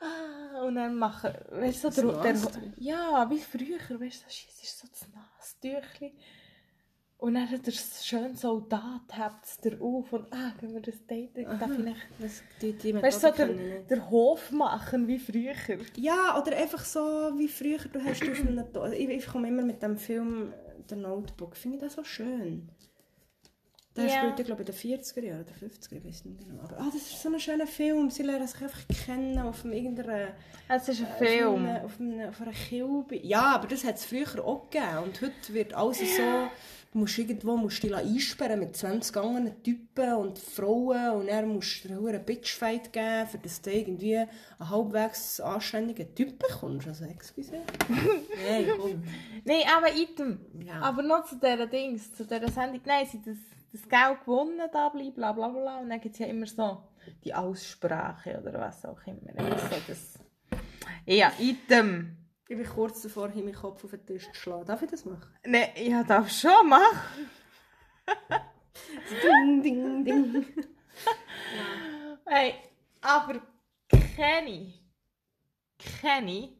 [SPEAKER 1] Ah, Und dann machen, weißt du, so der, der,
[SPEAKER 2] Nastüchchen?
[SPEAKER 1] ja, wie früher, weißt du, so schiessest du so das Nastüchchen und dann hat der schöne Soldat, hebt es dir auf und ah, gehen wir das Date, darf ich
[SPEAKER 2] aber
[SPEAKER 1] nicht.
[SPEAKER 2] Das, die, die
[SPEAKER 1] Weißt du, so
[SPEAKER 2] Methode kenne ich
[SPEAKER 1] der,
[SPEAKER 2] nicht.
[SPEAKER 1] der Hof machen, wie früher.
[SPEAKER 2] Ja, oder einfach so wie früher, du hast auf einem Do ich, ich komme immer mit dem Film äh, «The Notebook», finde ich das so schön. Der
[SPEAKER 1] Ja.
[SPEAKER 2] spielt, ich glaube, in den 40er Jahren oder 50er, ich weiß nicht genau. Aber ah, das ist so ein schöner Film, sie lernen sich einfach kennen auf einem irgendeiner...
[SPEAKER 1] Es ist ein
[SPEAKER 2] auf
[SPEAKER 1] Film.
[SPEAKER 2] einem- Auf, einem, auf einer Kilbe. Ja, aber das hat es früher auch gegeben. Und heute wird alles so... Du musst irgendwo musst dich einsperren mit 20 anderen Typen und Frauen und er musst dir einen Bitchfight geben, für dass du irgendwie einen halbwegs anständigen Typ bekommst. Also, excuse. Nein, komm.
[SPEAKER 1] Nein, aber item.
[SPEAKER 2] Ja.
[SPEAKER 1] Aber noch zu dieser Dings, zu dieser Sendung. Nein, sie das, das Geld gewonnen, da bleiben, bla bla bla. Und dann gibt es ja immer so die Aussprache oder was auch immer. Immer so das. Ja, item.
[SPEAKER 2] Ich bin kurz davor, hier meinen Kopf auf den Tisch zu schlagen. Darf ich das machen?
[SPEAKER 1] Nein, ja, darf schon machen.
[SPEAKER 2] Ding, ding, ding.
[SPEAKER 1] Hey, aber Kenny. Kenny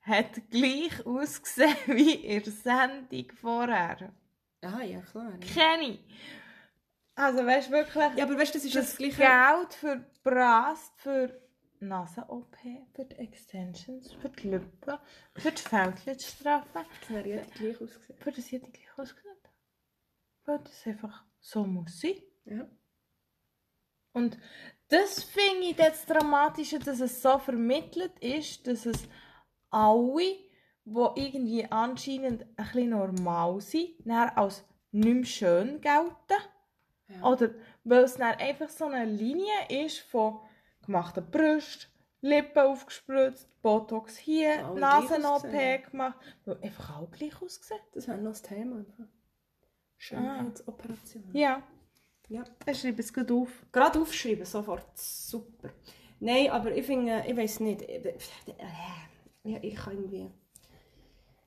[SPEAKER 1] hat gleich ausgesehen wie in der Sendung vorher.
[SPEAKER 2] Ah, ja, klar. ja.
[SPEAKER 1] Kenny! Also, weißt du wirklich.
[SPEAKER 2] Ja, aber weißt du, das ist
[SPEAKER 1] das
[SPEAKER 2] das Gleiche.
[SPEAKER 1] Geld für Brast, für Nasen-OP, für die Extensions, für die Lippen, für die Fältchenstrafe,
[SPEAKER 2] Das hat ja gleich ausgesehen.
[SPEAKER 1] für das jede gleich ausgesehen. Weil das einfach so muss sein.
[SPEAKER 2] Ja.
[SPEAKER 1] Und das finde ich das Dramatische, dass es so vermittelt ist, dass es alle, die irgendwie anscheinend ein bisschen normal sind, dann als nicht mehr schön gelten.
[SPEAKER 2] Ja.
[SPEAKER 1] Oder weil es dann einfach so eine Linie ist von gemachten Brust, Lippen aufgespritzt, Botox hier,
[SPEAKER 2] Auch gleich
[SPEAKER 1] Nasen-OP gemacht. Weil einfach auch gleich ausgesehen.
[SPEAKER 2] Das wäre noch das Thema. Schönheitsoperation.
[SPEAKER 1] Ah. Ja,
[SPEAKER 2] Ja.
[SPEAKER 1] ich schreibe es gut auf.
[SPEAKER 2] Gerade aufschreiben, sofort. Super. Nein, aber ich finde, ich weiß nicht. Ich- äh, Ja, ich kann irgendwie.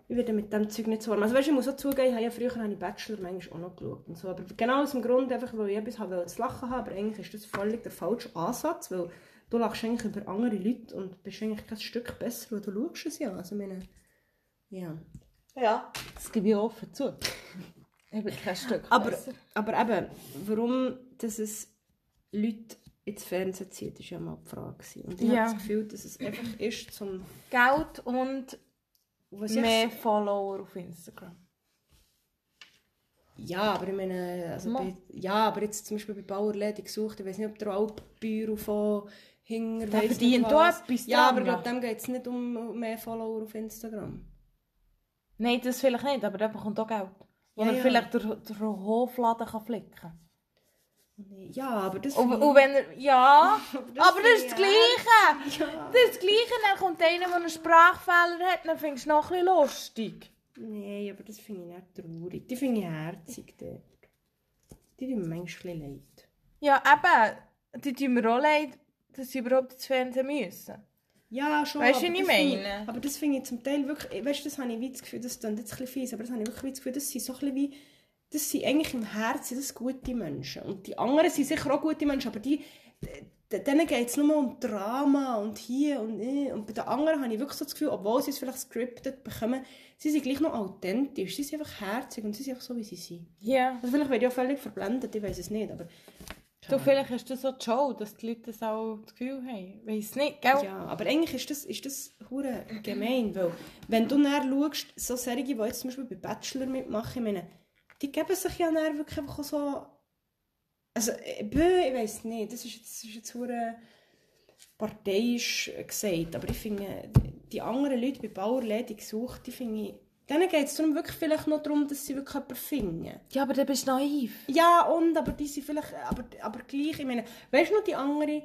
[SPEAKER 2] Ich werde mit dem Zeug nicht so warm. Also, weißt, du, ich muss auch zugeben, ich habe ja früher habe ich Bachelor manchmal auch noch geschaut. Und so. Aber genau aus dem Grund, einfach, weil ich etwas habe, wollte zu lachen habe. Aber eigentlich ist das völlig der falsche Ansatz, weil du lachst eigentlich über andere Leute und bist eigentlich kein Stück besser, weil du schaust es ja. Also, ich meine, ja.
[SPEAKER 1] Ja. Das gebe ich offen zu. Ich bin kein Stück
[SPEAKER 2] Aber,
[SPEAKER 1] besser.
[SPEAKER 2] aber eben, warum dass es Leute ins Fernsehen zieht, war ja mal die Frage. gewesen. Und ich
[SPEAKER 1] Ja.
[SPEAKER 2] habe das Gefühl, dass es einfach ist, zum.
[SPEAKER 1] Geld und
[SPEAKER 2] Was ich-
[SPEAKER 1] mehr Follower auf Instagram.
[SPEAKER 2] Ja, aber ich meine, also
[SPEAKER 1] Ma.
[SPEAKER 2] bei, ja, aber jetzt zum Beispiel bei Bauerläden gesucht, ich weiß nicht, ob der Altbüro von Hinger
[SPEAKER 1] Der
[SPEAKER 2] weiss nicht
[SPEAKER 1] verdient auch
[SPEAKER 2] was.
[SPEAKER 1] etwas
[SPEAKER 2] Ja,
[SPEAKER 1] dran,
[SPEAKER 2] aber ich glaube,
[SPEAKER 1] ja.
[SPEAKER 2] dem geht es nicht um mehr Follower auf Instagram.
[SPEAKER 1] Nein, das vielleicht nicht, aber der bekommt auch Geld. Wo
[SPEAKER 2] Ja,
[SPEAKER 1] er
[SPEAKER 2] ja.
[SPEAKER 1] vielleicht durch den Hofladen kann flicken kann.
[SPEAKER 2] Ja, aber das.
[SPEAKER 1] Und, und wenn er, ja, Oh,
[SPEAKER 2] das
[SPEAKER 1] aber das ist das
[SPEAKER 2] finde ich
[SPEAKER 1] Gleiche.
[SPEAKER 2] Ja.
[SPEAKER 1] Das ist das Gleiche, dann kommt einer, der einen Sprachfehler hat, dann findest du noch ein bisschen lustig.
[SPEAKER 2] Nein, aber das finde ich nicht traurig. Die finde ich herzig dort. Die tun mir manchmal ein bisschen leid.
[SPEAKER 1] Ja, eben, die tun mir auch leid, dass sie überhaupt ins Fernsehen müssen.
[SPEAKER 2] Ja, schon.
[SPEAKER 1] Weisst du,
[SPEAKER 2] aber das
[SPEAKER 1] was ich
[SPEAKER 2] finde ich-
[SPEAKER 1] meine?
[SPEAKER 2] Aber das finde ich zum Teil wirklich, eh, weißt du, das habe ich wie das Gefühl, das klingt jetzt ein bisschen fies, aber das habe ich wirklich wie das Gefühl, das sind so ein bisschen wie, das sind eigentlich im Herzen das gute Menschen. Und die anderen sind sicher auch gute Menschen, aber die, d- denen geht es nur um Drama und hier und äh. Und bei den anderen habe ich wirklich so das Gefühl, obwohl sie es vielleicht scripted bekommen, sie sind gleich noch authentisch, sie sind einfach herzig und sie sind einfach so, wie sie sind.
[SPEAKER 1] Ja.
[SPEAKER 2] Also vielleicht werde ich auch völlig verblendet, ich weiß es nicht, aber...
[SPEAKER 1] Du, vielleicht hast du so die Show, dass die Leute das auch das Gefühl haben. Weiss nicht, gell?
[SPEAKER 2] Ja, aber eigentlich ist das, ist das hure gemein, weil wenn du näher schaust, so Serien, die jetzt zum Beispiel bei Bachelor mitmachen, ich meine, die geben sich ja näher wirklich einfach auch so... Also, äh, bö, ich weiss nicht, das ist jetzt, das ist jetzt hure parteiisch äh, gesagt, aber ich finde, die anderen Leute bei Bauerläden gesucht, die finde ich... Denen geht es darum, wirklich vielleicht noch darum, dass sie wirklich jemanden finden.
[SPEAKER 1] Ja, aber dann bist du naiv.
[SPEAKER 2] Ja, und, aber die sind vielleicht, äh, aber, aber gleich, ich meine, weißt du noch die andere,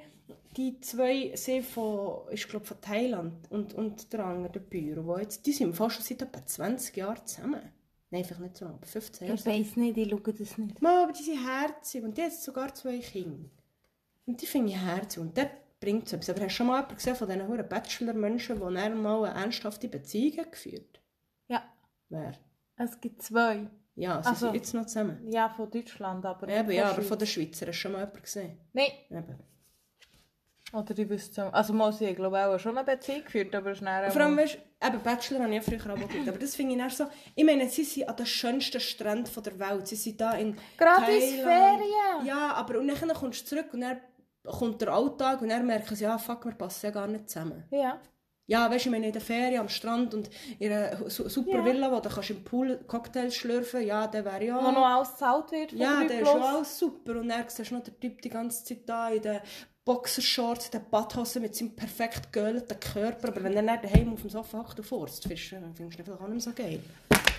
[SPEAKER 2] die zwei sind von, ich glaube von Thailand und, und der andere, der Büro, wo jetzt, die sind fast schon seit etwa 20 Jahren zusammen. Nein, vielleicht nicht so lange, aber 15 Jahre.
[SPEAKER 1] Ich weiss nicht, ich schaue
[SPEAKER 2] dus
[SPEAKER 1] das nicht.
[SPEAKER 2] Mal, aber die sind herzig und die hat sogar zwei Kinder. Und die finde ich herzig und das bringt es etwas. Aber hast du schon mal jemanden gesehen von diesen verdammten Bachelor-Menschen, die dann mal eine ernsthafte Beziehung geführt
[SPEAKER 1] Ja,
[SPEAKER 2] Wer?
[SPEAKER 1] es gibt zwei.
[SPEAKER 2] Ja, sie
[SPEAKER 1] Ach so.
[SPEAKER 2] sind jetzt noch zusammen.
[SPEAKER 1] Ja, von Deutschland, aber nicht
[SPEAKER 2] Eben, ja, aber
[SPEAKER 1] Schweiz.
[SPEAKER 2] Also. von der Schweizer hast du schon mal jemanden gesehen.
[SPEAKER 1] Nein,
[SPEAKER 2] Eben.
[SPEAKER 1] oder die wüssten es auch. Also, mal, sie haben, glaube ich, auch schon eine Beziehung geführt, aber schnell...
[SPEAKER 2] Vor allem, weißt du, eben Bachelor habe ich ja früher auch geschaut, aber das finde ich dann so... Ich meine, sie sind an den schönsten Stränden von der Welt. Sie sind da in
[SPEAKER 1] Gratis
[SPEAKER 2] Thailand.
[SPEAKER 1] Ferien.
[SPEAKER 2] Ja, aber und dann kommst du zurück und dann kommt der Alltag und dann merken sie, ja, fuck, wir passen ja gar nicht zusammen.
[SPEAKER 1] Ja.
[SPEAKER 2] Ja, weißt du, ich meine, in der Ferien am Strand und in einer su- super
[SPEAKER 1] Ja.
[SPEAKER 2] Villa, wo du kannst im Pool Cocktails schlürfen ja, der wäre ja...
[SPEAKER 1] Wo noch alles gezahlt wird von
[SPEAKER 2] Ja,
[SPEAKER 1] drei
[SPEAKER 2] der ist
[SPEAKER 1] plus.
[SPEAKER 2] schon alles super. Und dann siehst du noch den Typ die ganze Zeit da in den Boxershorts, in den Badhosen mit seinem perfekt geölten Körper. Aber wenn er dann daheim auf dem Sofa hockt und furzt, findest du äh, findest du ihn vielleicht auch nicht mehr so geil.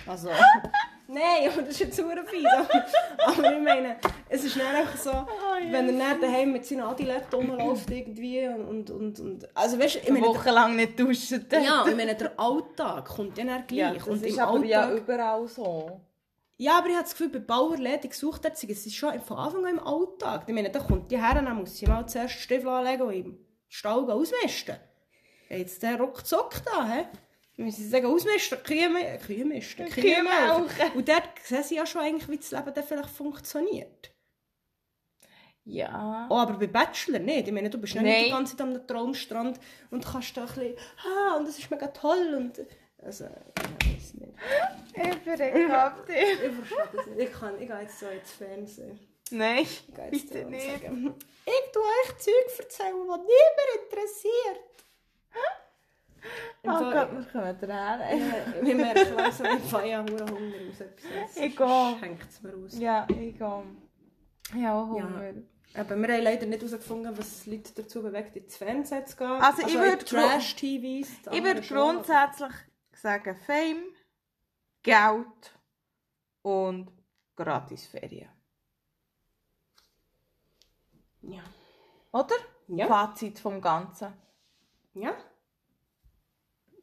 [SPEAKER 2] Also... Nein, aber das ist jetzt super fies. Aber, aber ich meine, es ist dann einfach so, wenn er dann daheim mit seinen Adiletten rumläuft irgendwie und, und, und, und... Also weißt du, ich
[SPEAKER 1] Eine
[SPEAKER 2] meine...
[SPEAKER 1] Woche lang nicht duschen.
[SPEAKER 2] Der, ja, ich meine, der Alltag kommt ja dann gleich.
[SPEAKER 1] Ja, das
[SPEAKER 2] und
[SPEAKER 1] ist
[SPEAKER 2] im
[SPEAKER 1] aber
[SPEAKER 2] Alltag...
[SPEAKER 1] ja überall so.
[SPEAKER 2] Ja, aber ich habe das Gefühl, bei Bauerläden gesucht hat, es ist schon von Anfang an im Alltag. Ich meine, da kommt die her, dann muss sie mal zuerst die Stiefel anlegen und im Stall gehen ausmisten. Ja, Jetzt der Rockzock da, hä? Wir müssen sie sagen, ausmisten, Kühe, mi- Kühe misten, Kühe,
[SPEAKER 1] Kühe
[SPEAKER 2] melken.
[SPEAKER 1] melken.
[SPEAKER 2] Und dort sehen sie ja schon eigentlich, wie das Leben dann vielleicht funktioniert.
[SPEAKER 1] Ja.
[SPEAKER 2] Oh, aber bei Bachelor nicht. Ich meine, du bist ja
[SPEAKER 1] Nein.
[SPEAKER 2] nicht die ganze Zeit am Traumstrand und kannst da ein bisschen, ah, und das ist mega toll und... Also, ich weiß nicht.
[SPEAKER 1] Ich verreckt dich.
[SPEAKER 2] Ich verstehe das nicht. Ich, kann, ich gehe jetzt so ins Fernsehen.
[SPEAKER 1] Nein,
[SPEAKER 2] Geht's
[SPEAKER 1] bitte
[SPEAKER 2] dir und
[SPEAKER 1] nicht.
[SPEAKER 2] sagen, Ich tue euch Zeug erzählen, die niemand interessiert.
[SPEAKER 1] Oh Gott, wir kommen dran.
[SPEAKER 2] Wir merken langsam, ich fange ja hure Hunger aus etwas.
[SPEAKER 1] Ich gehe.
[SPEAKER 2] Schenkt es mir aus.
[SPEAKER 1] Ja, ich gehe. Ja, auch
[SPEAKER 2] Ja.
[SPEAKER 1] Hunger.
[SPEAKER 2] Eben, wir haben leider nicht herausgefunden, was Leute dazu bewegt, ins Fernsehen zu gehen.
[SPEAKER 1] Also, ich
[SPEAKER 2] in
[SPEAKER 1] würd grund-
[SPEAKER 2] Trash-TVs. das
[SPEAKER 1] Ich
[SPEAKER 2] andere
[SPEAKER 1] würde
[SPEAKER 2] schon, aber-
[SPEAKER 1] grundsätzlich sagen, Fame, Geld und Gratisferien.
[SPEAKER 2] Ja.
[SPEAKER 1] Oder?
[SPEAKER 2] Ja.
[SPEAKER 1] Fazit vom Ganzen.
[SPEAKER 2] Ja.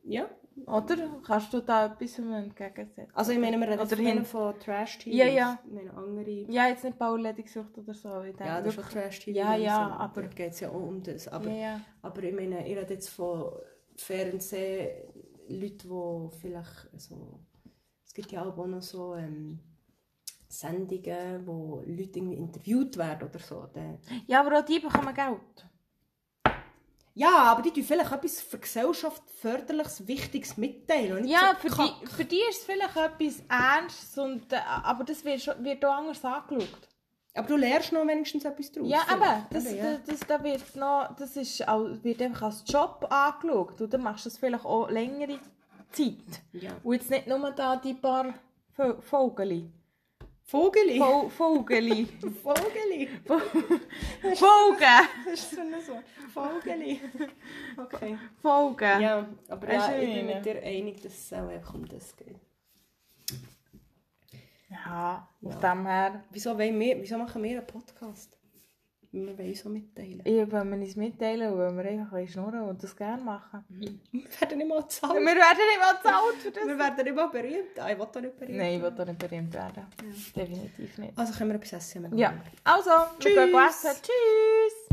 [SPEAKER 2] Ja.
[SPEAKER 1] Oder kannst du da etwas entgegensetzen?
[SPEAKER 2] Also ich meine, wir reden
[SPEAKER 1] Oder
[SPEAKER 2] jetzt nicht
[SPEAKER 1] hin-
[SPEAKER 2] von Trash-TV.
[SPEAKER 1] Ja, ja.
[SPEAKER 2] Ich meine, andere...
[SPEAKER 1] Ja, jetzt nicht Bauerledigsucht oder so. Ich denke,
[SPEAKER 2] Ja, das ist auch
[SPEAKER 1] wirklich-
[SPEAKER 2] Trash-TV.
[SPEAKER 1] Ja, ja,
[SPEAKER 2] so.
[SPEAKER 1] aber-
[SPEAKER 2] also, Da geht es ja auch um das. Aber,
[SPEAKER 1] Ja, ja.
[SPEAKER 2] aber ich meine, ich rede jetzt von Fernsehen, Leute, die vielleicht so... Es gibt ja auch noch so ähm, Sendungen, wo Leute irgendwie interviewt werden oder so. Dann,
[SPEAKER 1] ja, aber auch die bekommen Geld.
[SPEAKER 2] Ja, aber die tun vielleicht etwas für die Gesellschaft förderliches, wichtiges mitteilen. und nicht
[SPEAKER 1] Ja,
[SPEAKER 2] so
[SPEAKER 1] für
[SPEAKER 2] Kack.
[SPEAKER 1] die, für die ist es vielleicht etwas Ernstes, und, äh, aber das wird, schon- wird auch anders angeschaut.
[SPEAKER 2] Aber du lernst noch wenigstens etwas draus.
[SPEAKER 1] Ja,
[SPEAKER 2] vielleicht.
[SPEAKER 1] eben, das,
[SPEAKER 2] Eben, ja.
[SPEAKER 1] das, das, da wird, noch, das ist auch, wird einfach als Job angeschaut. Und dann machst du das vielleicht auch längere Zeit.
[SPEAKER 2] Ja.
[SPEAKER 1] Und jetzt nicht nur da die paar Vo- Vogeli.
[SPEAKER 2] Vogeli.
[SPEAKER 1] Vo- Vogeli.
[SPEAKER 2] Vogeli.
[SPEAKER 1] Vogel!
[SPEAKER 2] Hast du so ein Wort? Vogeli. Okay.
[SPEAKER 1] Vogel!
[SPEAKER 2] Ja, aber
[SPEAKER 1] Weisst
[SPEAKER 2] ja,
[SPEAKER 1] du,
[SPEAKER 2] ich
[SPEAKER 1] wie
[SPEAKER 2] bin
[SPEAKER 1] ich
[SPEAKER 2] mit dir einig, dass es auch einfach um das geht.
[SPEAKER 1] Ja, aus
[SPEAKER 2] Ja.
[SPEAKER 1] dem her.
[SPEAKER 2] Wieso, wollen wir, wieso machen wir einen Podcast? Wir wollen uns auch mitteilen.
[SPEAKER 1] Ich will mir nicht mitteilen, weil wir einfach schnurren und das gerne machen.
[SPEAKER 2] Wir werden nicht mal
[SPEAKER 1] Wir
[SPEAKER 2] bezahlt.
[SPEAKER 1] werden nicht mal zu alt für das.
[SPEAKER 2] Wir werden nicht mal berühmt. Ah, ich will doch nicht berühmt
[SPEAKER 1] Nein, ich will
[SPEAKER 2] werden.
[SPEAKER 1] da nicht berühmt werden. Definitiv nicht.
[SPEAKER 2] Ah, Also können wir etwas essen? wenn wir
[SPEAKER 1] Ja, also, wir
[SPEAKER 2] Tschüss.
[SPEAKER 1] gehen essen. Tschüss!